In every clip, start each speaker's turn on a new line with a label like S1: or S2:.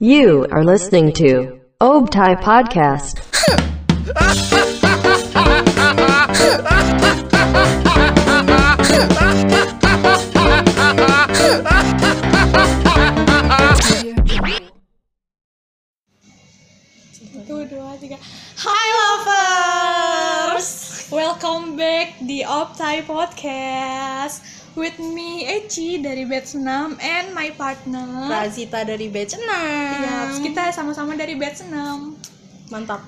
S1: You are listening to Obtai Podcast.
S2: Satu, dua, tiga. Hi lovers, welcome back di Optai Podcast with me Eci dari batch 6 and my partner.
S3: Razita dari batch 6
S2: Yaps, Iya, kita sama-sama dari batch 6.
S3: Mantap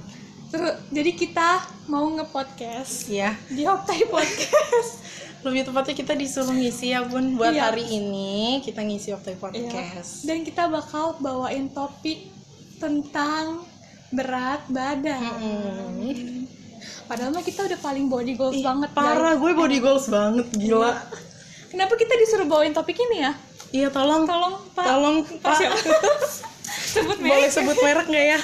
S2: Terus jadi kita mau nge-podcast
S3: Ya
S2: di Optai Podcast.
S3: Lebih tepatnya kita disuruh ngisi ya bun Buat
S2: Iya.
S3: hari ini kita ngisi
S2: Yaps.
S3: Optai Podcast
S2: Iya. Dan kita bakal bawain topik tentang berat badan.
S3: Mm.
S2: Padahal mah kita udah paling body goals
S3: Ih,
S2: banget guys. Iya.
S3: Parah gue body goals banget gila
S2: Kenapa kita disuruh bawain topik ini ya?
S3: Iya tolong
S2: Tolong Pak.
S3: Tolong
S2: Pak,
S3: Pak
S2: siapa? sebut
S3: Boleh
S2: merek. Oke,
S3: sebut merek nggak ya?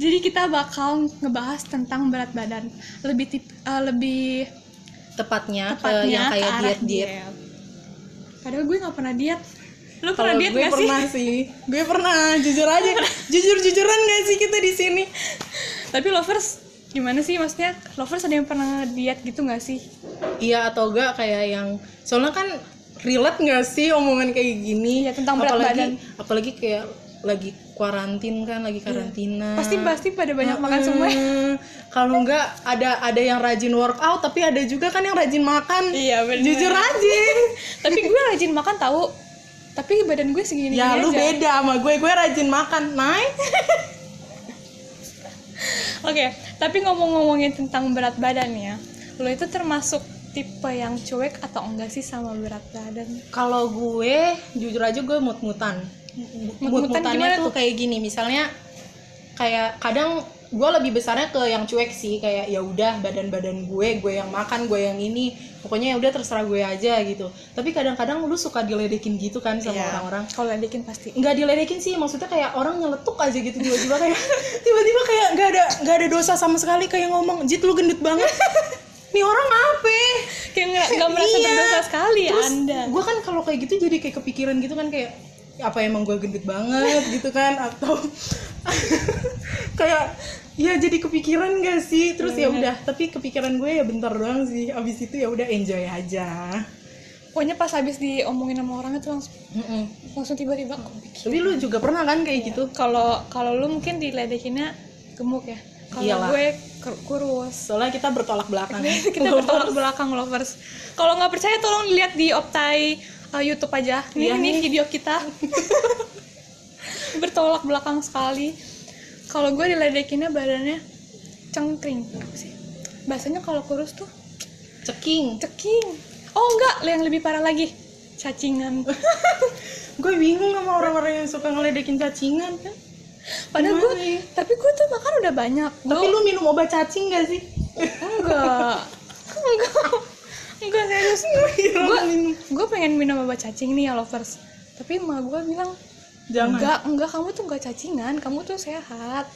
S2: jadi kita bakal ngebahas tentang berat badan lebih tip, eh, lebih tepatnya
S3: Tepatnya, ke Eh, yang kayak
S2: ke arah
S3: diet-diet
S2: diet. Padahal gue nggak pernah diet. Lu pernah
S3: Kalau
S2: diet
S3: gue
S2: gak
S3: pernah
S2: sih?
S3: sih. Gue pernah, jujur aja. Jujur-jujuran gak sih kita di sini?
S2: Tapi lovers gimana sih maksudnya lovers ada yang pernah diet gitu nggak sih?
S3: Iya atau enggak kayak yang soalnya kan relate nggak sih omongan kayak gini
S2: Iya, tentang berat
S3: apalagi,
S2: badan.
S3: apalagi kayak lagi kuarantin kan lagi karantina
S2: Iya. Pasti pasti pada banyak makan
S3: Mm-mm.
S2: semua.
S3: kalau enggak ada ada yang rajin workout tapi ada juga kan yang rajin makan
S2: Iya, bener.
S3: jujur rajin
S2: Tapi gue rajin makan tahu. Tapi badan gue segini
S3: ya
S2: aja.
S3: lu beda sama gue gue rajin makan nice
S2: Oke, tapi ngomong-ngomongin tentang berat badan ya, lo itu termasuk tipe yang cuek atau enggak sih sama berat badan?
S3: kalau gue jujur aja gue mut-mutan
S2: Mut-mutan gimana
S3: mut-mutannya tuh
S2: tuh?
S3: kayak gini misalnya kayak kadang gue lebih besarnya ke yang cuek sih kayak ya udah badan-badan gue gue yang makan gue yang ini pokoknya ya udah terserah gue aja gitu tapi kadang-kadang lu suka diledekin gitu kan sama
S2: Iya.
S3: orang-orang
S2: Kalau ledekin pasti.
S3: nggak diledekin sih maksudnya kayak orang nyeletuk aja gitu tiba-tiba kayak tiba-tiba kayak nggak ada nggak ada dosa sama sekali kayak ngomong jit lu gendut banget nih orang apa
S2: Kayak nggak nggak merasa
S3: Iya.
S2: berdosa sekali ya
S3: Terus
S2: Anda.
S3: gue kan kalau kayak gitu jadi kayak kepikiran gitu kan kayak apa emang gue gendut banget gitu kan atau kayak ya jadi kepikiran gak sih terus ya udah tapi kepikiran gue ya bentar doang sih abis itu ya udah enjoy aja
S2: Pokoknya pas habis diomongin sama orang itu langsung langsung tiba-tiba
S3: Hmm.
S2: kepikir.
S3: tapi lu juga pernah kan kayak gitu
S2: Kalau kalau lu mungkin diledekinnya gemuk ya. Kalau
S3: Iyalah.
S2: gue kur- kurus.
S3: soalnya kita bertolak belakang
S2: Kita bertolak belakang lovers. Kalau nggak percaya tolong lihat di Optai uh, YouTube aja. Nih
S3: Iya,
S2: ini
S3: nih.
S2: video kita. bertolak belakang sekali. Kalau gue diledekinnya badannya cengkring Apa sih. Bahasanya kalau kurus tuh
S3: ceking
S2: ceking. Oh enggak, yang lebih parah lagi. Cacingan.
S3: gue bingung sama orang-orang yang suka ngeledekin cacingan kan
S2: Padahal gue,
S3: Gimana ya?
S2: tapi gue tuh makan udah banyak.
S3: tapi lu minum obat cacing gak sih
S2: enggak. enggak. Enggak serius. gue gue pengen minum obat cacing nih ya lovers tapi emak gue bilang
S3: jangan
S2: enggak enggak kamu tuh enggak cacingan kamu tuh sehat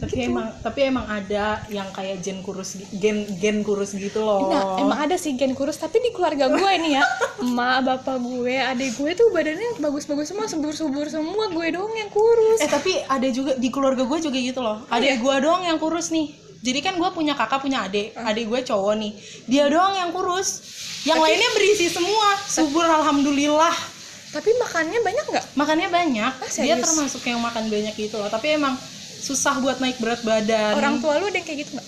S3: tapi emang tapi emang ada yang kayak gen kurus gi- gen gen kurus gitu loh
S2: nah emang ada sih gen kurus tapi di keluarga gue ini ya emak bapak gue adik gue tuh badannya bagus-bagus semua subur-subur semua gue doang yang kurus
S3: eh tapi ada juga di keluarga gue juga gitu
S2: Oh,
S3: loh
S2: iya?
S3: adik gue doang yang kurus nih jadi kan gue punya kakak punya adik
S2: Ah.
S3: adik gue cowok nih dia doang yang kurus yang lainnya berisi semua subur alhamdulillah
S2: tapi makannya banyak nggak
S3: makannya banyak dia
S2: Ah, serius?
S3: termasuk yang makan banyak gitu loh tapi emang susah buat naik berat badan
S2: orang tua lu ada yang kayak gitu nggak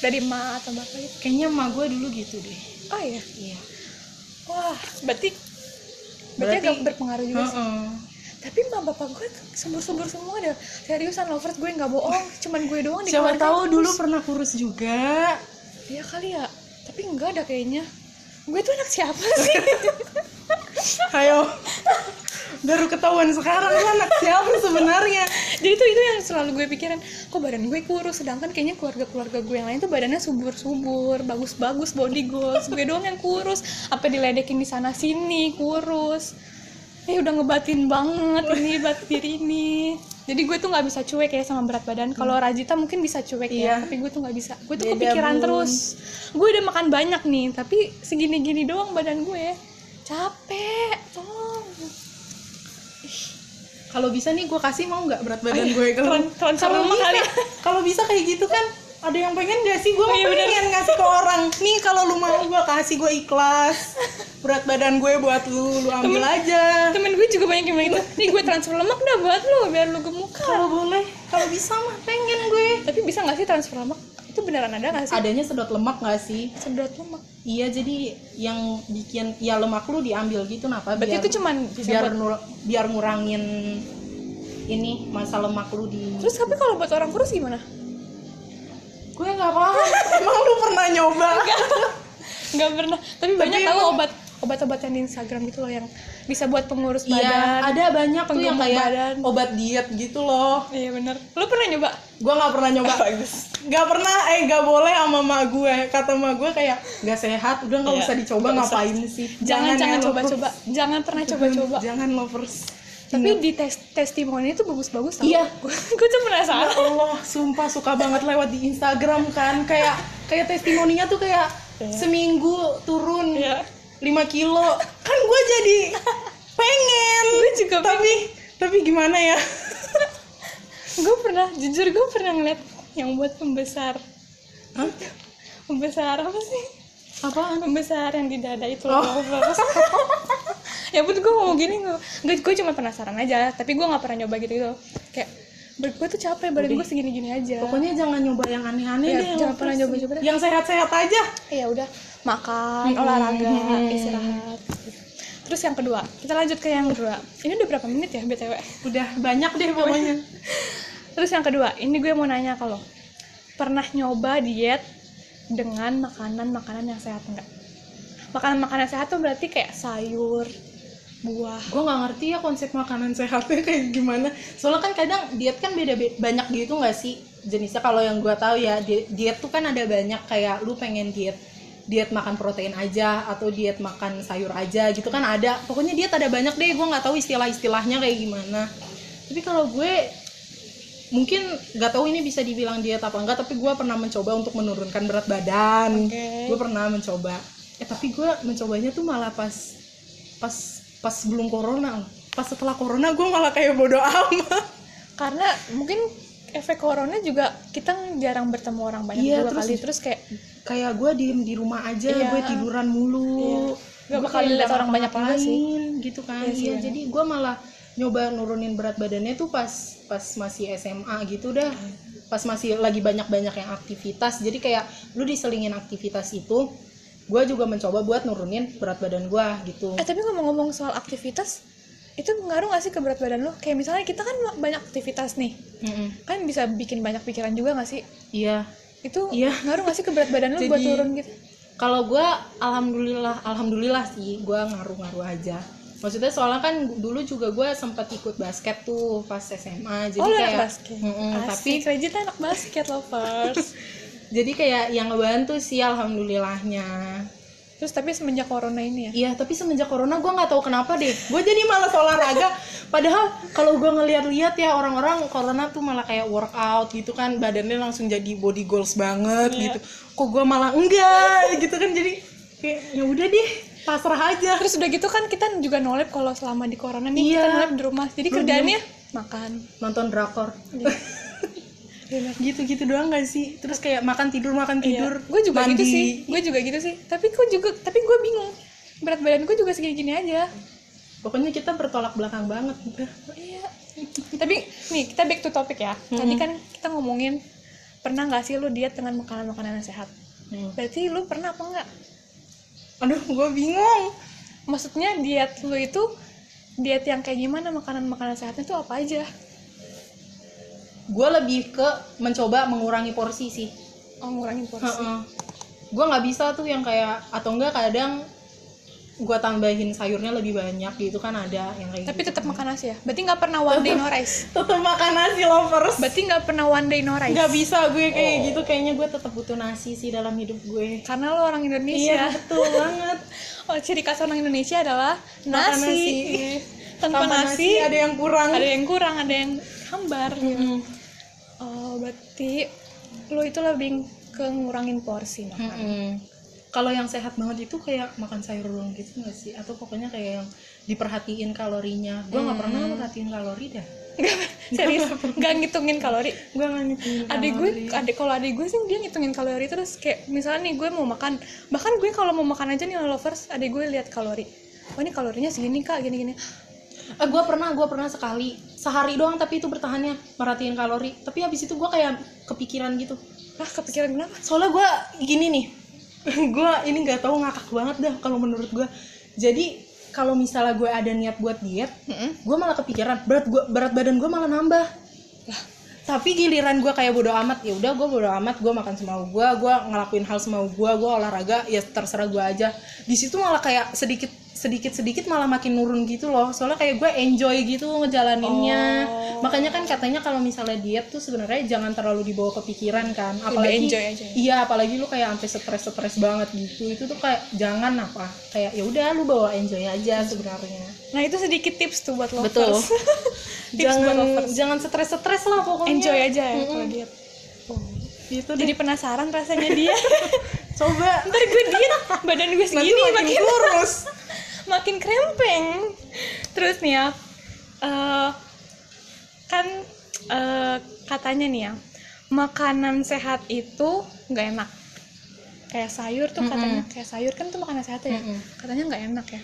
S2: dari emak atau bapak gitu
S3: kayaknya emak gue dulu gitu deh
S2: oh iya
S3: iya
S2: wah berarti berarti,
S3: Berarti-
S2: agak berpengaruh juga sih
S3: Heeh.
S2: tapi emak bapak gue subur-subur semua deh seriusan lovers gue nggak bohong cuman gue doang Kan di
S3: siapa
S2: keluarga
S3: tahu
S2: yang
S3: dulu
S2: kurus.
S3: pernah kurus juga
S2: Iya kali ya, tapi enggak ada kayaknya. Gue tuh anak siapa sih?
S3: Ayo. Baru ketahuan sekarang lu anak siapa sebenarnya?
S2: Jadi tuh itu yang selalu gue pikirin, kok badan gue kurus, sedangkan kayaknya keluarga-keluarga gue yang lain tuh badannya subur-subur, bagus-bagus, body goals, gue doang yang kurus, apa diledekin di sana sini, kurus. Eh udah ngebatin banget ini bat diri ini. Jadi gue tuh nggak bisa cuek ya sama berat badan. Kalau Rajita mungkin bisa cuek ya,
S3: Hmm. Iya.
S2: tapi gue tuh nggak bisa. Gue tuh
S3: Beda,
S2: kepikiran
S3: Bun.
S2: terus. Gue udah makan banyak nih, tapi segini-gini doang badan gue. Capek. Tolong.
S3: kalau bisa nih gue kasih mau nggak berat badan gue kalau
S2: Keren- keren sama
S3: kalau
S2: mama
S3: bisa
S2: kali.
S3: kalau bisa kayak gitu kan ada yang pengen gak sih gue
S2: Oh, iya bener.
S3: pengen ngasih ke orang nih kalau lu mau gue kasih gue ikhlas berat badan gue buat lu lu ambil aja
S2: temen gue juga banyak yang bilang gitu nih gue transfer lemak dah buat lo biar lo gemukan
S3: kalau boleh kalau bisa mah pengen gue
S2: tapi bisa nggak sih transfer lemak itu beneran ada nggak sih
S3: adanya sedot lemak gak sih
S2: sedot lemak
S3: iya jadi yang bikin ya lemak lu diambil gitu napa
S2: berarti
S3: biar-
S2: itu cuman bisa
S3: biar
S2: buat-
S3: nur- biar ngurangin ini masa lemak lu di
S2: terus tapi kalau buat orang kurus gimana
S3: gue nggak paham emang lu pernah nyoba
S2: nggak pernah tapi banyak tahu obat obat-obat yang di Instagram gitu loh yang bisa buat pengurus badan
S3: iya ada banyak tuh yang
S2: penggemuk
S3: kayak
S2: badan.
S3: obat diet gitu loh
S2: iya bener lo pernah nyoba
S3: gue nggak pernah nyoba nggak pernah eh nggak boleh sama mak gue kata mak gue kayak nggak sehat udah nggak
S2: Iya,
S3: usah dicoba
S2: nggak usah.
S3: ngapain sih
S2: jangan jangan
S3: ya, lovers.
S2: coba-coba jangan pernah coba-coba
S3: jangan lovers
S2: tapi di tes testimoni itu bagus-bagus tau
S3: Iya.
S2: gue tuh
S3: Ya
S2: penasaran
S3: Allah, sumpah suka banget lewat di Instagram kan kayak kayak testimoninya tuh kayak seminggu turun
S2: Iya.
S3: 5 kilo kan gue jadi pengen
S2: Gue juga
S3: tapi tapi gimana ya
S2: gue pernah jujur gue pernah ngeliat yang buat pembesar
S3: Hah?
S2: pembesar apa sih
S3: apaan
S2: pembesar yang di dada itu loh Bagus. ya but gue ngomong gini gue gue cuma penasaran aja tapi gue nggak pernah nyoba gitu gitu kayak gue tuh capek badan gue segini gini aja
S3: pokoknya jangan nyoba yang aneh-aneh
S2: Iya,
S3: deh
S2: jangan
S3: lovers.
S2: pernah nyoba-nyoba deh.
S3: yang sehat-sehat aja
S2: ya udah makan olahraga istirahat terus yang kedua kita lanjut ke yang kedua ini udah berapa menit ya btw
S3: udah banyak deh pokoknya
S2: terus yang kedua ini gue mau nanya kalau pernah nyoba diet dengan makanan makanan yang sehat enggak makanan makanan sehat tuh berarti kayak sayur buah
S3: gue nggak ngerti ya konsep makanan sehatnya kayak gimana soalnya kan kadang diet kan beda banyak gitu nggak sih jenisnya kalau yang gue tahu ya di- diet tuh kan ada banyak kayak lu pengen diet diet makan protein aja atau diet makan sayur aja gitu kan ada pokoknya diet ada banyak deh gue nggak tahu istilah-istilahnya kayak gimana tapi kalau gue mungkin nggak tahu ini bisa dibilang diet apa enggak tapi gue pernah mencoba untuk menurunkan berat badan
S2: Oke.
S3: gue pernah mencoba eh tapi gue mencobanya tuh malah pas pas pas belum corona pas setelah corona gue malah kayak bodoh amat
S2: karena mungkin efek corona juga kita jarang bertemu orang banyak
S3: Iya,
S2: juga
S3: terus-
S2: kali terus kayak
S3: kayak gue diem di rumah aja
S2: Iya.
S3: gue tiduran mulu
S2: Nggak
S3: Gua
S2: bakal
S3: kayak
S2: dilihat
S3: nggak
S2: orang banyak juga
S3: ngapa-ngapain,
S2: sih.
S3: gitu kan
S2: Iya sih,
S3: iya
S2: bener.
S3: jadi gue malah nyoba nurunin berat badannya tuh pas pas masih SMA gitu dah
S2: Hmm.
S3: pas masih lagi banyak-banyak yang aktivitas jadi kayak lu diselingin aktivitas itu gue juga mencoba buat nurunin berat badan gue gitu
S2: eh tapi ngomong-ngomong soal aktivitas itu ngaruh gak sih ke berat badan lo kayak misalnya kita kan banyak aktivitas nih
S3: Mm-mm.
S2: kan bisa bikin banyak pikiran juga gak sih
S3: iya
S2: itu
S3: Iya.
S2: ngaruh gak sih ke berat badan lo buat
S3: Jadi-
S2: turun gitu
S3: kalau gue alhamdulillah alhamdulillah sih gue ngaruh-ngaruh aja maksudnya soalnya kan dulu juga gue sempat ikut basket tuh pas SMA jadi
S2: oh lo
S3: kayak
S2: anak basket
S3: Mm-mm, tapi
S2: tapi Regina anak basket lovers
S3: jadi kayak yang ngebantu sih alhamdulillahnya
S2: terus tapi semenjak corona ini ya
S3: iya tapi semenjak corona gue nggak tahu kenapa deh gue jadi malas olahraga padahal kalau gue ngeliat-liat ya orang-orang corona tuh malah kayak workout gitu kan badannya langsung jadi body goals banget
S2: Iya.
S3: gitu kok gue malah enggak gitu kan jadi kayak ya udah deh pasrah aja
S2: terus udah gitu kan kita juga nolep kalau selama di corona nih
S3: Iya.
S2: kita nolep di rumah jadi
S3: Lu
S2: kerjaannya makan
S3: nonton drakor
S2: Iya. Relax.
S3: gitu-gitu doang gak sih terus kayak makan tidur makan tidur
S2: gue juga
S3: mandi.
S2: gitu sih gue juga gitu sih tapi gue juga tapi gue bingung berat badan gue juga segini gini aja
S3: pokoknya kita bertolak belakang banget udah
S2: iya tapi nih kita back to topic ya tadi kan kita ngomongin pernah nggak sih lu diet dengan makanan makanan yang sehat berarti lu pernah apa nggak
S3: aduh gue bingung
S2: maksudnya diet lu itu diet yang kayak gimana makanan makanan sehatnya tuh apa aja
S3: gue lebih ke mencoba mengurangi porsi sih
S2: oh ngurangin porsi
S3: Heeh. gue nggak bisa tuh yang kayak atau enggak kadang gue tambahin sayurnya lebih banyak gitu kan ada yang kayak
S2: tapi
S3: gitu.
S2: tetap makan nasi ya berarti nggak pernah one day no rice
S3: tetap makan nasi lovers
S2: berarti nggak pernah one day no rice
S3: nggak bisa gue
S2: Oh.
S3: kayak gitu kayaknya gue tetap butuh nasi sih dalam hidup gue
S2: karena lu orang Indonesia
S3: iya betul banget
S2: Oh, ciri khas orang Indonesia adalah
S3: Makan
S2: nasi.
S3: nasi.
S2: Tanpa nasi, ada,
S3: ada yang kurang
S2: yang... kurang, ada yang hambar. gitu.
S3: Mm-mm.
S2: Oh, berarti lo itu lebih ke ngurangin porsi mah.
S3: Mm-mm. kalau yang sehat banget itu kayak makan sayur doang gitu nggak sih atau pokoknya kayak yang diperhatiin kalorinya gue nggak pernah merhatiin kalori dah
S2: serius nggak ngitungin kalori
S3: gue nggak ngitungin
S2: adik gue adik kalau adik gue sih dia ngitungin kalori terus kayak misalnya nih gue mau makan bahkan gue kalau mau makan aja nih lovers adik gue lihat kalori wah ini kalorinya segini kak gini gini
S3: Eh, gue pernah, gue pernah sekali sehari doang tapi itu bertahannya merhatiin kalori. Tapi habis itu gue kayak kepikiran gitu.
S2: ah kepikiran kenapa
S3: Soalnya gue gini nih, gue ini nggak tahu ngakak banget dah kalau menurut gue. Jadi kalau misalnya gue ada niat buat diet, gue malah kepikiran berat gua, berat badan gue malah nambah. Lah, tapi giliran gue kayak bodo amat ya udah gue bodo amat gue makan semau gue gue ngelakuin hal semau gue gue olahraga ya terserah gue aja di situ malah kayak sedikit sedikit sedikit malah makin nurun gitu loh soalnya kayak gue enjoy gitu ngejalaninnya makanya kan katanya kalau misalnya diet tuh sebenarnya jangan terlalu dibawa kepikiran kan apalagi
S2: enjoy aja.
S3: iya apalagi lu kayak sampai stres stres banget gitu itu tuh kayak jangan apa kayak ya udah lu bawa enjoy aja sebenarnya
S2: nah itu sedikit tips tuh buat lovers
S3: Betul.
S2: tips buat
S3: jangan
S2: lovers
S3: jangan stres stres lah pokoknya
S2: enjoy aja ya kalau
S3: Mm-mm.
S2: diet
S3: gitu deh.
S2: jadi penasaran rasanya dia
S3: coba
S2: ntar gue diet badan gue segini
S3: nanti makin,
S2: makin
S3: kurus
S2: makin krempeng terus nih ya eh, kan eh, katanya nih ya makanan sehat itu nggak enak kayak sayur tuh katanya kayak sayur kan tuh makanan sehat ya
S3: Mm-mm.
S2: katanya nggak enak ya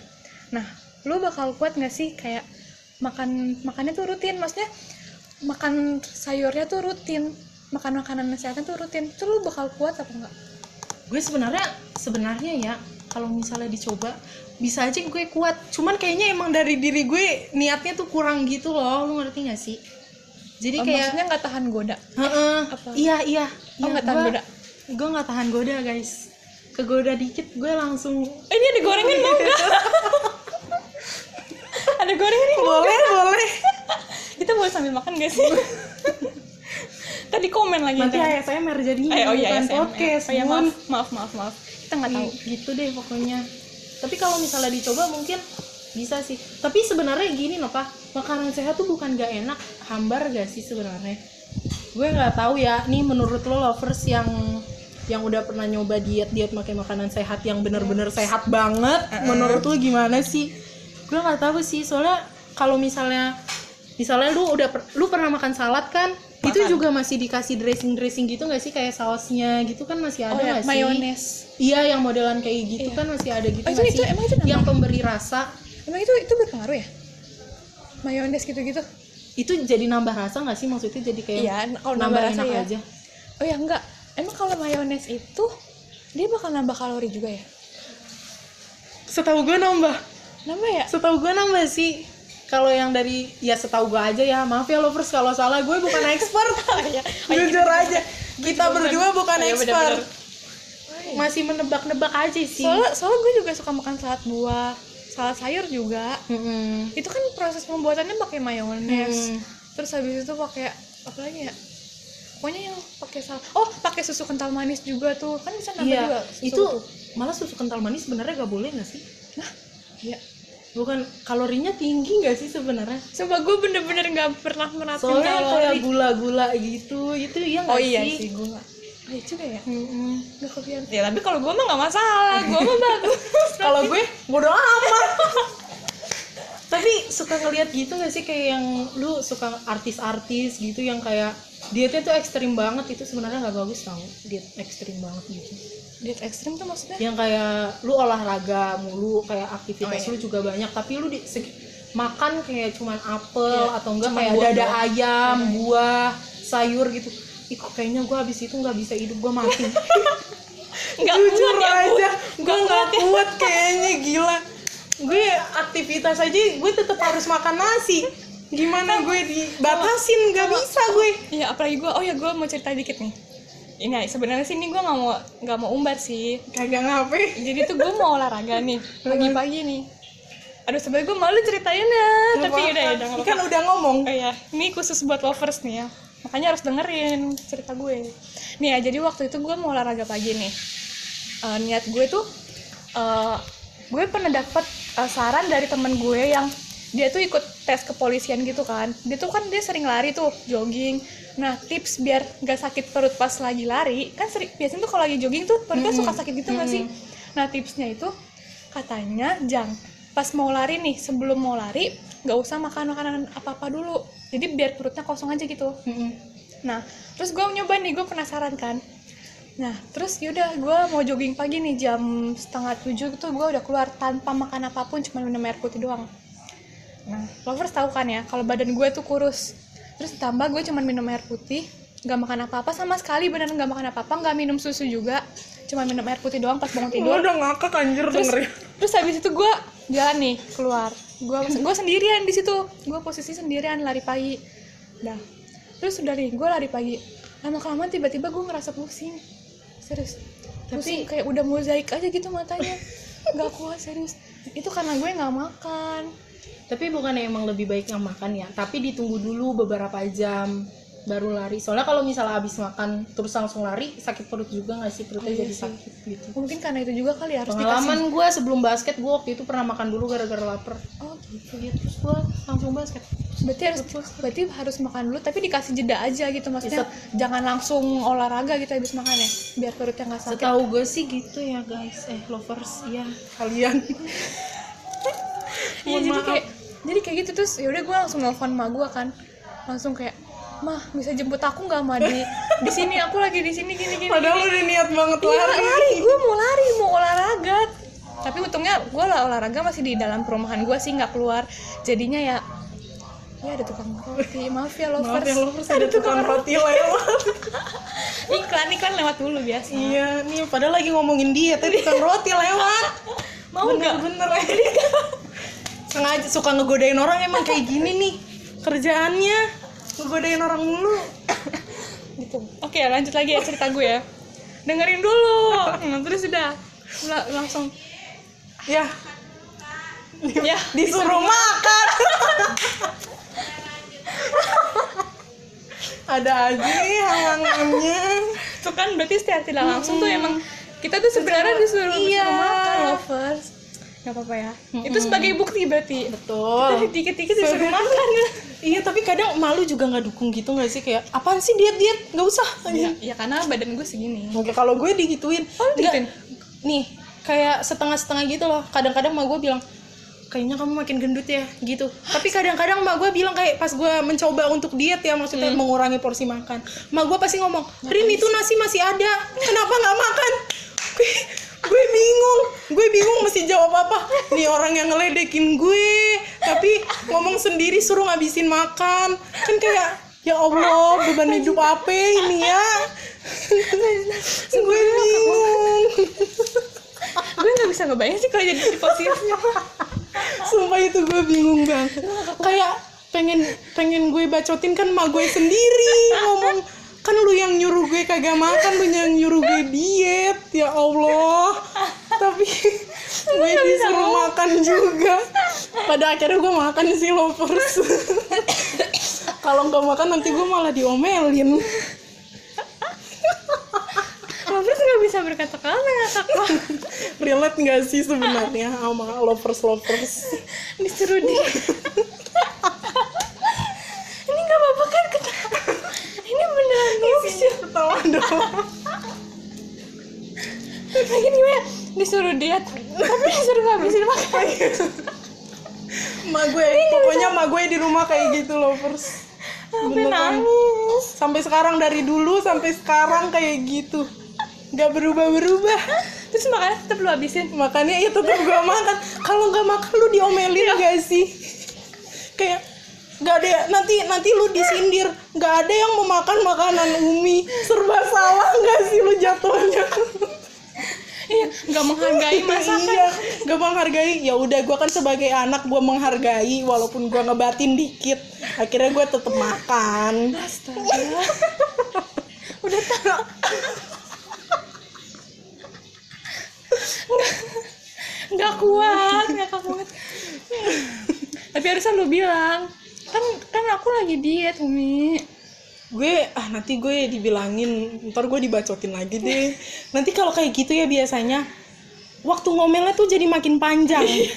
S2: nah lu bakal kuat nggak sih kayak makan makannya tuh rutin maksudnya makan sayurnya tuh rutin makan makanan sehatnya tuh rutin tuh lu bakal kuat apa enggak
S3: gue sebenarnya sebenarnya ya kalau misalnya dicoba bisa aja gue kuat cuman kayaknya emang dari diri gue niatnya tuh kurang gitu loh lu ngerti gak sih
S2: Oh,
S3: jadi kayak
S2: maksudnya nggak tahan goda
S3: Heeh,
S2: apa?
S3: iya iya
S2: Oh, nggak tahan goda.
S3: gue nggak tahan goda guys kegoda dikit gue langsung
S2: Eh, ini ada gorengan mau nggak? ada gorengan nih mau
S3: boleh boleh
S2: Kita boleh sambil makan gak sih? Tadi komen lagi
S3: nanti
S2: kan?
S3: ASMR jadinya
S2: Eh, oh iya,
S3: bukan
S2: ASMR.
S3: podcast
S2: Oh iya,
S3: Bun.
S2: maaf, maaf, maaf, maaf. Kita nggak tahu.
S3: Iya, gitu deh pokoknya tapi kalau misalnya dicoba mungkin bisa sih tapi sebenarnya gini loh pak makanan sehat tuh bukan gak enak hambar gak sih sebenarnya gue nggak tahu ya nih menurut lo lovers yang yang udah pernah nyoba diet diet pakai makanan sehat yang bener-bener sehat banget menurut lo gimana sih gue nggak tahu sih soalnya kalau misalnya misalnya lu udah per- lu pernah makan salad kan itu juga masih dikasih dressing dressing gitu nggak sih kayak sausnya gitu kan masih
S2: Oh
S3: ada
S2: ya,
S3: nggak sih
S2: mayones.
S3: Iya, yang modelan kayak gitu
S2: Iya.
S3: kan masih ada gitu
S2: Oh, itu-
S3: nggak
S2: itu-
S3: sih?
S2: emang itu nama?
S3: yang pemberi rasa
S2: Emang itu itu berpengaruh ya? Mayones gitu-gitu?
S3: itu jadi nambah rasa nggak sih maksudnya jadi kayak
S2: Iya, kalau nambah rasa
S3: enak
S2: ya.
S3: aja.
S2: Oh ya enggak. Emang kalau mayones itu dia bakal nambah kalori juga ya?
S3: Setahu gue nambah,
S2: Nambah ya?
S3: setahu gue nambah sih. Kalau yang dari ya setahu gue aja ya maaf ya lovers kalau salah gue bukan expert.
S2: Oh
S3: Jujur aja, kita berdua bukan
S2: Iya,
S3: expert.
S2: bener-bener.
S3: Masih menebak-nebak aja sih.
S2: Soalnya, soalnya gue juga suka makan salad buah, salad sayur juga.
S3: Mm-mm.
S2: itu kan proses pembuatannya pakai mayones
S3: Hmm.
S2: terus habis itu pakai apa lagi ya pokoknya yang pakai sal oh pakai susu kental manis juga tuh kan bisa nambah juga
S3: Iya,
S2: susu
S3: itu malah susu kental manis sebenarnya gak boleh nggak sih?
S2: iya
S3: Bukan kalorinya tinggi nggak sih sebenarnya?
S2: coba gue bener-bener nggak pernah merhatiin
S3: soalnya kayak
S2: kalori
S3: gula-gula gitu itu ya nggak
S2: oh iya
S3: sih,
S2: sih gula oh, iya juga ya
S3: Mm-mm.
S2: nggak kepikiran ya tapi kalau gue mah nggak masalah gue mah bagus
S3: kalau gue bodo amat tapi suka ngelihat gitu gak sih kayak yang lu suka artis-artis gitu yang kayak dietnya tuh ekstrim banget itu sebenarnya nggak bagus tau diet ekstrim banget gitu
S2: diet ekstrim tuh maksudnya
S3: yang kayak lu olahraga mulu kayak aktivitas
S2: Oh, iya.
S3: lu juga banyak tapi lu di segi- makan kayak cuman apel
S2: Iya,
S3: atau enggak
S2: cuman
S3: kayak
S2: buah
S3: dada
S2: doang.
S3: ayam buah sayur gitu Ih, kok kayaknya gue habis itu nggak bisa hidup gue mati
S2: nggak
S3: jujur
S2: kuat ya, Bu.
S3: aja gue
S2: Nggak
S3: nggak
S2: kuat ya.
S3: kuat kayaknya gila gue aktivitas aja gue tetap harus makan nasi gimana gue dibatasin nggak bisa gue
S2: Iya, apalagi gue, oh ya gue mau cerita dikit nih. Ini sebenarnya sih ini gue nggak mau nggak mau umbar sih.
S3: kagak ngapain
S2: Jadi tuh gue mau olahraga nih pagi-pagi nih. Aduh sebenernya gue malu ceritain ya, tapi udah ya udah nggak
S3: kan udah ngomong
S2: Oh iya, ini khusus buat lovers nih ya. Makanya harus dengerin cerita gue. Nih ya, jadi waktu itu gue mau olahraga pagi nih. Eh, niat gue tuh, eh, gue pernah dapet eh, saran dari temen gue yang dia tuh ikut tes kepolisian gitu kan. Dia tuh kan dia sering lari tuh, jogging. Nah tips biar gak sakit perut pas lagi lari, kan sering, biasanya tuh kalau lagi jogging tuh perutnya suka sakit gitu nggak sih? Nah tipsnya itu katanya jang pas mau lari nih sebelum mau lari nggak usah makan makanan apa apa dulu jadi biar perutnya kosong aja gitu
S3: Mm-mm.
S2: nah terus gue nyoba nih gue penasaran kan nah terus yaudah gue mau jogging pagi nih jam setengah tujuh itu gue udah keluar tanpa makan apapun cuma minum air putih doang nah lovers tahu kan ya kalau badan gue tuh kurus terus ditambah gue cuma minum air putih nggak makan apa-apa sama sekali beneran nggak makan apa-apa nggak minum susu juga cuma minum air putih doang pas bangun tidur
S3: Gua udah ngakak anjir
S2: terus
S3: dengerin
S2: terus habis itu gue jalan nih keluar gue gue sendirian di situ gue posisi sendirian lari pagi dah terus udah nih gue lari pagi lama kelamaan tiba-tiba gue ngerasa pusing serius pusing kayak udah mozaik aja gitu matanya nggak kuat serius itu karena gue nggak makan
S3: tapi bukan emang lebih baik yang makan ya tapi ditunggu dulu beberapa jam baru lari soalnya kalau misalnya habis makan terus langsung lari sakit perut juga nggak sih perutnya
S2: Iya
S3: jadi
S2: sih.
S3: sakit gitu
S2: mungkin karena itu juga kali ya, harus dikasih
S3: pengalaman gue sebelum basket gue waktu itu pernah makan dulu gara-gara lapar
S2: oh gitu
S3: ya terus gue langsung basket
S2: berarti harus berarti harus makan dulu tapi dikasih jeda aja gitu maksudnya
S3: Set-
S2: jangan langsung olahraga gitu habis makan ya biar perutnya nggak sakit
S3: setahu gue sih gitu ya guys eh lovers ya kalian
S2: Iya
S3: Mohon
S2: jadi
S3: Iya, maaf.
S2: kayak jadi kayak gitu terus yaudah gue langsung nelfon ma gue kan langsung kayak mah bisa jemput aku nggak ma di di sini aku lagi di sini gini gini
S3: padahal udah niat banget
S2: Iya,
S3: lari
S2: lari gue mau lari mau olahraga tapi untungnya gue lah olahraga masih di dalam perumahan gue sih nggak keluar jadinya ya ya ada tukang roti maaf ya lovers,
S3: maaf ya lovers ada tukang roti lewat
S2: iklan iklan lewat dulu biasa
S3: iya nih padahal lagi ngomongin diet tapi tukang roti lewat
S2: Mau nggak?
S3: bener bener sengaja suka ngegodain orang emang kayak gini nih kerjaannya ngegodain orang mulu
S2: gitu oke lanjut lagi ya cerita gue ya dengerin dulu Nah, terus udah la- langsung
S3: ya
S2: ya
S3: disuruh makan ada aja halangannya
S2: Tuh kan berarti secara tidak langsung tuh emang kita tuh sebenarnya disuruh,
S3: Iya.
S2: disuruh makan lovers nggak apa-apa ya itu sebagai bukti berarti
S3: betul
S2: dikit-dikit disuruh makan
S3: iya tapi kadang malu juga nggak dukung gitu nggak sih kayak apaan sih diet diet nggak usah
S2: ya, ya karena badan gue segini
S3: Oke, kalau gue digituin,
S2: Oh, lu digituin?
S3: Nggak, nih kayak setengah-setengah gitu loh. Kadang-kadang mah gue bilang, kayaknya kamu makin gendut ya, gitu. Tapi kadang-kadang mah gue bilang kayak pas gue mencoba untuk diet ya, maksudnya mengurangi porsi makan. Mah gue pasti ngomong, Rim itu nasi masih ada, kenapa nggak makan? Gue, gue bingung, gue bingung mesti jawab apa. Nih orang yang ngeledekin gue, tapi ngomong sendiri suruh ngabisin makan, kan kayak ya Allah beban hidup apa ini ya? gue bingung
S2: gue nggak bisa ngebayang sih kalau jadi di posisinya
S3: sumpah itu gue bingung banget kayak pengen pengen gue bacotin kan emak gue sendiri ngomong kan lu yang nyuruh gue kagak makan lu yang nyuruh gue diet ya allah tapi gue disuruh makan juga pada akhirnya gue makan sih lovers kalau nggak makan nanti gue malah diomelin
S2: lovers nggak bisa berkata-kata ngakak banget.
S3: relate nggak sih sebenarnya sama lovers lovers
S2: disuruh di ini nggak apa-apa kan kita ini beneran lucu
S3: ketawa dong
S2: lagi gue disuruh diet tapi disuruh ngabisin makan
S3: Ma gue, pokoknya ma gue di rumah kayak gitu loh, Pers.
S2: sampai
S3: Beneran.
S2: nangis
S3: Sampai sekarang dari dulu sampai sekarang kayak gitu. Gak berubah-berubah.
S2: terus makannya tetap lu habisin
S3: Makanya ya tetap gue makan. Kalau nggak makan lu diomelin
S2: Iya.
S3: gak sih? Kayak nggak ada ya- nanti nanti lu disindir nggak ada yang mau makan makanan umi serba salah nggak sih lu jatuhnya
S2: iya nggak menghargai masakan
S3: iya gak menghargai ya udah gue kan sebagai anak gue menghargai walaupun gue ngebatin dikit akhirnya gue tetap makan
S2: astaga udah tau Nggak- nggak kuat nggak kuat tapi harusnya lu bilang kan kan aku lagi diet Umi
S3: gue ah nanti gue dibilangin ntar gue dibacotin lagi deh nanti kalau kayak gitu ya biasanya waktu ngomelnya tuh jadi makin panjang
S2: Iya.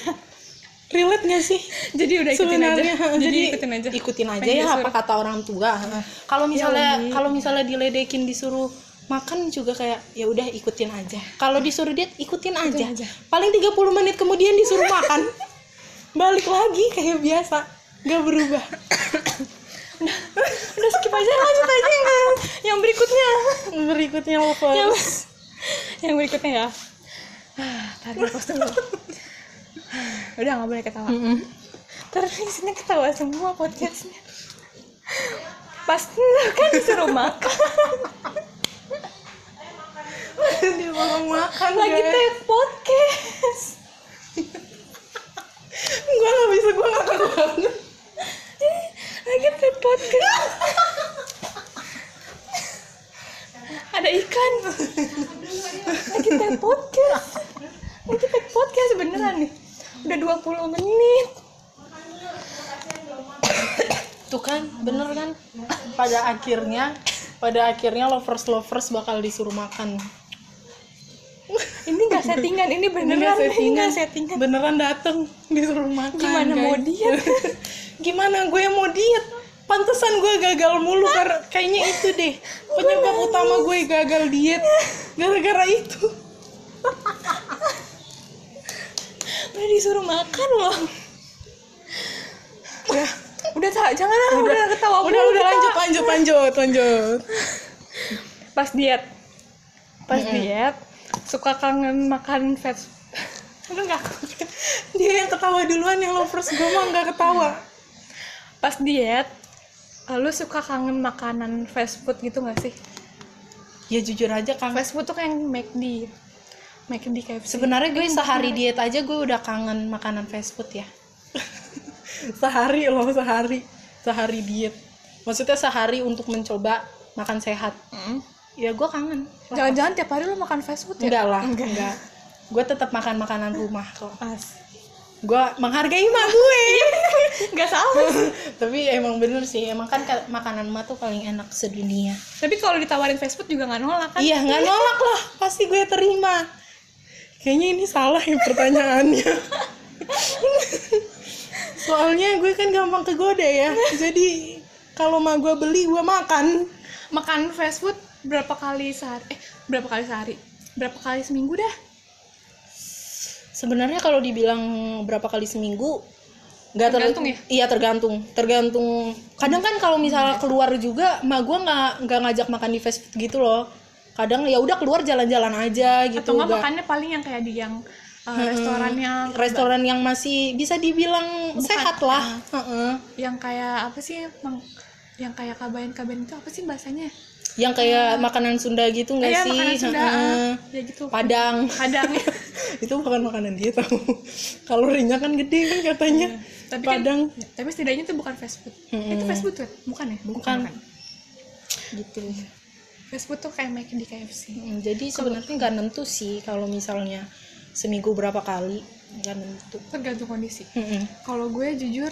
S3: relate gak sih
S2: jadi udah ikutin
S3: sebenarnya
S2: aja
S3: ha,
S2: jadi, ikutin aja Ya.
S3: ikutin aja
S2: Pengen
S3: ya
S2: disuruh.
S3: apa kata orang tua Ha. kalau misalnya kalau misalnya diledekin disuruh makan juga kayak ya udah ikutin aja kalau disuruh diet ikutin aja.
S2: aja.
S3: paling 30 menit kemudian disuruh makan balik lagi kayak biasa nggak berubah
S2: udah udah skip aja lanjut aja yang yang berikutnya
S3: berikutnya lovers
S2: yang, yang berikutnya ya Ah, tarik nafas dulu Ah, udah nggak boleh ketawa
S3: Mm-mm.
S2: terus isinya ketawa semua podcastnya pasti kan disuruh makan
S3: dia mau makan
S2: lagi
S3: guys.
S2: teh podcast
S3: gue nggak bisa gue ngakak banget
S2: lagi teh podcast ada ikan lagi teh podcast lagi teh podcast beneran nih udah 20 menit
S3: tuh kan bener kan pada akhirnya pada akhirnya lovers lovers bakal disuruh makan
S2: ini nggak settingan ini beneran ini
S3: nggak
S2: nggak
S3: Iya, settingan.
S2: settingan
S3: beneran dateng disuruh makan
S2: Gimana
S3: guys.
S2: mau diet?
S3: gimana gue mau diet pantesan gue gagal mulu karena kayaknya itu deh penyebab utama gue gagal diet gara-gara itu
S2: udah disuruh makan loh udah udah tak jangan ah, udah, ketawa
S3: Oh, udah
S2: mulu,
S3: udah
S2: ketawa.
S3: lanjut lanjut lanjut lanjut
S2: pas diet pas diet suka kangen makan fast lu nggak
S3: dia yang ketawa duluan yang lovers gue mah nggak ketawa
S2: pas diet eh, lu suka kangen makanan fast food gitu nggak sih
S3: ya jujur aja kangen
S2: fast food tuh kayak McD McD KFC
S3: Sebenarnya gue sehari diet aja gue udah kangen makanan fast food ya. sehari loh, sehari. Sehari diet. Maksudnya sehari untuk mencoba makan sehat. Ya gue kangen.
S2: jangan-jangan tiap hari lu makan fast food ya
S3: Enggak lah, enggak. Gue tetap makan makanan rumah kok.
S2: As.
S3: Gue menghargai emak gue.
S2: nggak salah
S3: Tapi emang bener sih, emang kan ka- makanan emak tuh paling enak sedunia.
S2: tapi kalau ditawarin fast food juga nggak nolak kan
S3: Iya, nggak nolak lah. Pasti gue terima. Kayaknya ini salah ya pertanyaannya. Soalnya gue kan gampang kegoda ya. Jadi kalau mah gue beli, gue makan.
S2: makan fast food berapa kali sehari eh berapa kali sehari berapa kali seminggu dah
S3: Sebenarnya kalau dibilang berapa kali seminggu, nggak ter-
S2: Tergantung ya?
S3: Iya tergantung, tergantung. Kadang kan kalau misalnya keluar juga, mah gue nggak nggak ngajak makan di fast food gitu loh. Kadang ya udah keluar jalan-jalan aja gitu.
S2: atau nggak
S3: nggak-
S2: makannya paling yang kayak di yang uh, restoran yang
S3: restoran yang masih bisa dibilang sehat lah. Heeh.
S2: yang kayak apa sih mang yang kayak kabayan kabayan itu apa sih bahasanya
S3: Yang kayak makanan Sunda gitu nggak
S2: Eh, ya,
S3: sih?
S2: makanan Sunda
S3: Heeh.
S2: ah. ya gitu
S3: Padang.
S2: kadang
S3: itu bukan makanan dia tahu. Kalorinya kan gede kan katanya.
S2: tapi kan-
S3: Padang
S2: tapi setidaknya itu bukan fast food
S3: Mm-mm.
S2: itu fast food kan? bukan ya
S3: bukan gitu.
S2: fast food tuh kayak McD KFC
S3: Mm, Jadi sebenarnya nggak nentu sih kalau misalnya seminggu berapa kali nggak nentu.
S2: tergantung kondisi
S3: Mm-mm.
S2: kalau gue jujur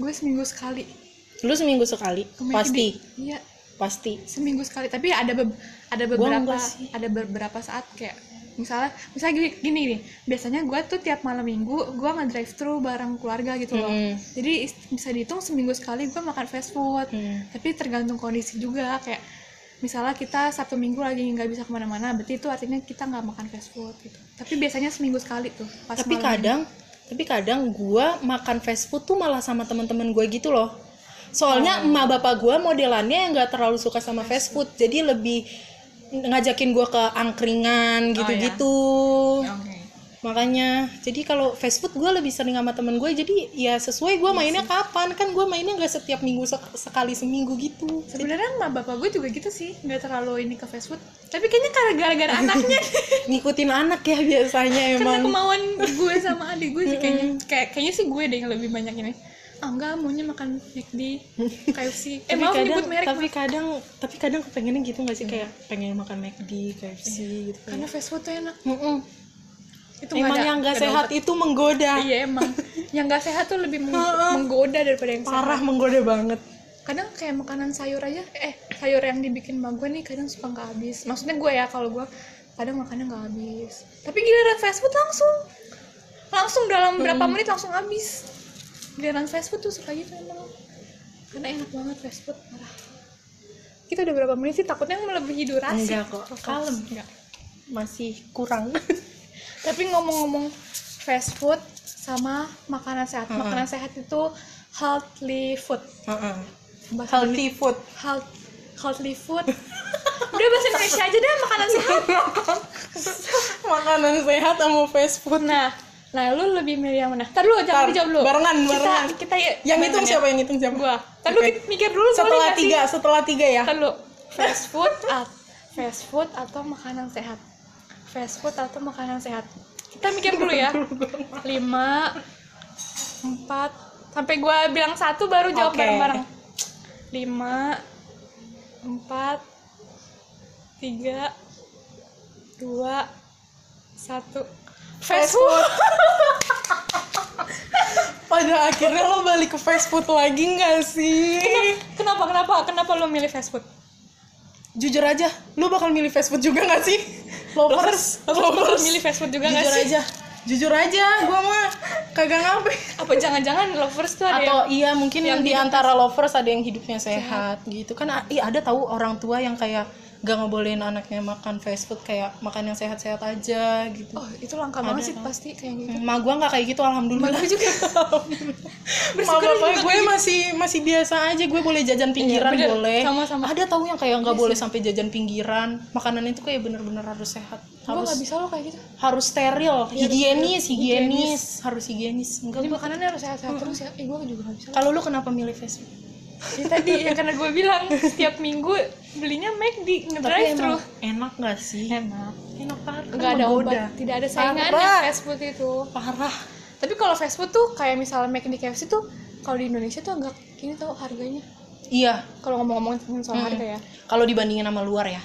S2: gue seminggu sekali
S3: Lu seminggu sekali
S2: ke McD.
S3: pasti
S2: iya
S3: pasti.
S2: seminggu sekali tapi ada be- ada beberapa
S3: enggak sih.
S2: ada beberapa saat kayak misalnya misalnya gini gini nih biasanya gue tuh tiap malam minggu gue nge drive thru bareng keluarga gitu loh
S3: Mm-mm.
S2: jadi is- bisa dihitung seminggu sekali gue makan fast food
S3: Mm.
S2: tapi tergantung kondisi juga kayak misalnya kita sabtu minggu lagi nggak bisa kemana-mana berarti itu artinya kita nggak makan fast food gitu tapi biasanya seminggu sekali tuh pas
S3: tapi
S2: malam
S3: kadang tapi kadang gua makan fast food tuh malah sama teman-teman gue gitu loh soalnya
S2: Oh.
S3: emak bapak gua modelannya yang nggak terlalu suka sama fast food jadi lebih ngajakin gua ke angkringan
S2: Oh,
S3: gitu-gitu
S2: minggu. Oke.
S3: makanya jadi kalau fast food gua lebih sering sama temen gue jadi ya sesuai
S2: Iya
S3: gua mainnya kapan kan gua mainnya nggak setiap minggu sek- sekali seminggu gitu
S2: sebenarnya sama bapak gue juga gitu sih nggak terlalu ini ke fast food tapi kayaknya karena gara-gara anaknya
S3: ngikutin anak ya biasanya
S2: karena
S3: emang
S2: kemauan gue sama adik gue sih kayaknya kayak kayaknya sih gue deh yang lebih banyak ini ah enggak maunya makan McD KFC eh
S3: Tapi
S2: maaf
S3: kadang-
S2: nyebut merek
S3: tapi
S2: maaf.
S3: kadang tapi kadang kepengennya gitu nggak sih kayak pengen makan McD KFC
S2: Iya.
S3: gitu
S2: karena fast food tuh enak
S3: Mm-mm.
S2: itu nggak
S3: emang
S2: ada-
S3: yang nggak
S2: nggak ada
S3: sehat itu menggoda
S2: obat. iya emang yang nggak sehat tuh lebih meng- menggoda daripada yang sehat
S3: parah menggoda banget
S2: kadang kayak makanan sayur aja eh sayur yang dibikin sama gue nih kadang suka nggak habis maksudnya gue ya kalau gue kadang makannya nggak habis tapi giliran fast food langsung langsung dalam
S3: Hmm.
S2: berapa menit langsung habis giliran fast food tuh suka gitu emang karena enak banget fast food parah kita udah berapa menit sih takutnya melebihi durasi
S3: Enggak kok, kalem.
S2: enggak
S3: masih kurang
S2: tapi ngomong-ngomong fast food sama makanan sehat. Makanan sehat itu healthy food.
S3: Heeh.
S2: Bahasa
S3: Healthy food.
S2: health healthy food udah bahasa Indonesia aja deh makanan sehat
S3: Makanan sehat sama fast food.
S2: nah lalu lebih milih yang mana Ntar dulu jangan
S3: Ntar,
S2: dijawab dulu
S3: barengan,
S2: kita,
S3: barengan.
S2: kita
S3: Yang hitung siapa? Yang hitung siapa?
S2: gua Ntar dulu
S3: Oke.
S2: kita mikir dulu boleh
S3: Setelah
S2: nggak sih?
S3: tiga, setelah tiga ya.
S2: Ntar dulu fast food at fast food atau makanan sehat fast food atau makanan sehat kita mikir dulu ya lima empat sampai gua bilang satu baru jawab
S3: Oke.
S2: bareng-bareng lima empat tiga dua satu fast food
S3: Pada akhirnya lo balik ke fast food lagi nggak sih?
S2: kenapa kenapa kenapa lo milih fast food
S3: Jujur aja, lo bakal milih fast food juga nggak sih? Lovers,
S2: lo bakal milih fast food juga nggak
S3: Jujur
S2: sih
S3: aja, jujur aja, gua mah kagak ngapain.
S2: apa jangan-jangan lovers tuh ada
S3: atau
S2: yang-
S3: iya mungkin
S2: yang
S3: di
S2: hidup-
S3: antara lovers ada yang hidupnya sehat gitu kan i- ada tahu orang tua yang kayak gak ngebolehin anaknya makan fast food kayak makan yang sehat-sehat aja gitu
S2: oh itu langka banget sih pasti kayak gitu
S3: Ma gua nggak kayak gitu alhamdulillah.
S2: Gue juga
S3: Ma
S2: bersyukur
S3: bapak
S2: juga gitu. Iya,
S3: gue masih masih biasa aja gue boleh jajan pinggiran
S2: bener.
S3: boleh.
S2: Sama-sama. Iya
S3: Ada tahu yang kayak nggak boleh sampai jajan pinggiran. Makanan itu kayak bener-bener harus sehat.
S2: gue
S3: Harus
S2: gak bisa lo kayak gitu
S3: harus steril, higienis, higienis, harus higienis. Enggak.
S2: jadi makanannya harus sehat-sehat terus ya eh gue juga gak bisa
S3: Kalau lu kenapa milih fast food?
S2: ya, tadi ya karena gue bilang setiap minggu belinya McD ngedrive
S3: Tapi
S2: thru
S3: emang enak gak sih?
S2: enak
S3: enak parah
S2: nggak ada obat tidak ada saingannya
S3: Parah.
S2: fast food itu
S3: parah
S2: tapi kalau fast food tuh kayak misalnya McD KFC tuh kalau di Indonesia tuh agak gini tau harganya
S3: iya
S2: kalau ngomong-ngomong soal harga ya
S3: kalau dibandingin sama luar ya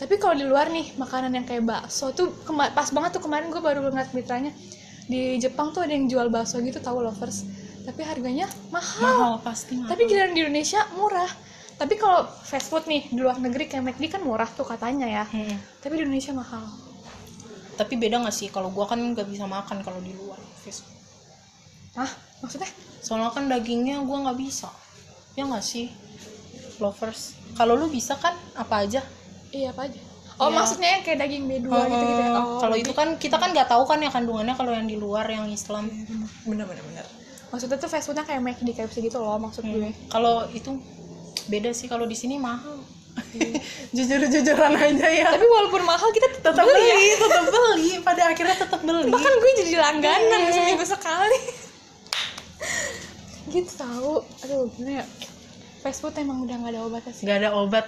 S2: tapi kalau di luar nih makanan yang kayak bakso tuh kema- pas banget tuh kemarin gue baru ngeliat beritanya di Jepang tuh ada yang jual bakso gitu tahu lovers tapi harganya mahal,
S3: mahal pasti mahal
S2: tapi giliran di Indonesia murah tapi kalau fast food nih di luar negeri kayak McD kan murah tuh katanya ya
S3: Mm-mm.
S2: tapi di Indonesia mahal
S3: Hmm. tapi beda gak sih kalau gua kan nggak bisa makan kalau di luar Fis.
S2: ah maksudnya
S3: soalnya kan dagingnya gua nggak bisa ya nggak sih lovers kalau lu bisa kan apa aja
S2: iya apa aja oh
S3: Iya.
S2: maksudnya yang kayak daging B2 gitu gitu ya oh,
S3: kalau itu kan kita kan nggak tahu kan ya kandungannya kalau yang di luar yang Islam Hmm. bener bener bener
S2: maksudnya tuh fast foodnya kayak McD KFC gitu loh maksud gue
S3: kalau itu beda sih kalau di sini mahal jujur jujuran aja ya
S2: tapi walaupun mahal kita tetap
S3: tetap
S2: beli
S3: beli,
S2: ya
S3: tetap beli pada akhirnya tetap beli
S2: bahkan gue jadi langganan seminggu sekali gitu tahu aduh gimana ya fast food emang udah nggak ada obatnya sih
S3: nggak ada obat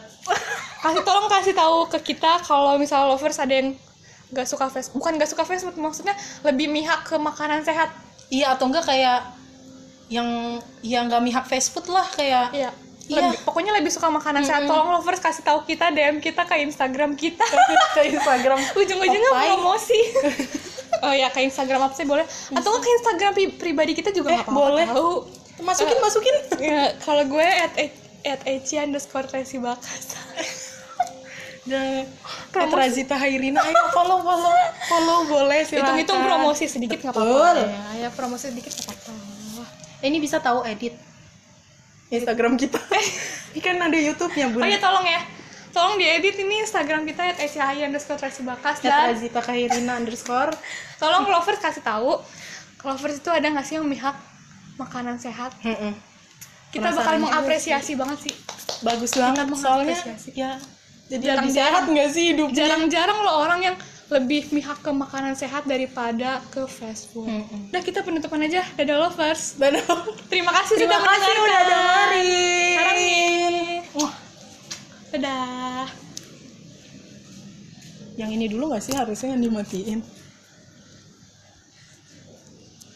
S2: kasih tolong kasih tahu ke kita kalau misalnya lovers ada yang nggak suka fast bukan nggak suka fast food maksudnya lebih mihak ke makanan sehat
S3: iya atau enggak kayak yang yang nggak mihak fast food lah kayak
S2: iya
S3: Iya.
S2: Lebih- pokoknya lebih suka makanan sehat tolong lovers kasih tahu kita dm kita ke instagram kita
S3: Iya, ke Instagram
S2: ujung-ujungnya
S3: Apa?
S2: promosi oh ya ke instagram apa sih boleh atau nggak ke instagram pri- pribadi kita juga
S3: Eh,
S2: nggak apa-apa
S3: boleh.
S2: tahu.
S3: masukin masukin
S2: Ya, kalau gue at at Eci underscore Resi Bakas.
S3: dan
S2: Promosi.
S3: Nah, Razita Hairina ayo follow follow follow boleh silakan
S2: Hitung-hitung promosi sedikit nggak
S3: Betul.
S2: apa-apa. Ya, ya, promosi sedikit nggak apa-apa.
S3: Eh, ini bisa tahu edit Instagram kita ini kan ada YouTube-nya
S2: Oh
S3: bun
S2: ya tolong ya, tolong diedit ini Instagram kita at Eci underscore Resi Bakas
S3: At
S2: dan
S3: Razita Hairina underscore
S2: tolong lovers kasih tahu lovers itu ada nggak sih yang mihak makanan sehat?
S3: Mm-mm.
S2: Kita
S3: Penasaran
S2: bakal
S3: juga
S2: mengapresiasi banget sih.
S3: bagus banget soalnya
S2: mengapresiasi.
S3: ya jadi
S2: Tentang
S3: lebih sehat nggak sih hidupnya
S2: Jarang-jarang loh orang yang lebih mihak ke makanan sehat daripada ke fast food.
S3: Mm-mm.
S2: Udah kita penutupan aja. Dadah lovers.
S3: Dan-
S2: Terima kasih
S3: Terima
S2: sudah
S3: kasih udah
S2: mendengarkan.
S3: dengerin.
S2: Sekarang
S3: Wah,
S2: Dadah.
S3: yang ini dulu gak sih harusnya yang dimatiin?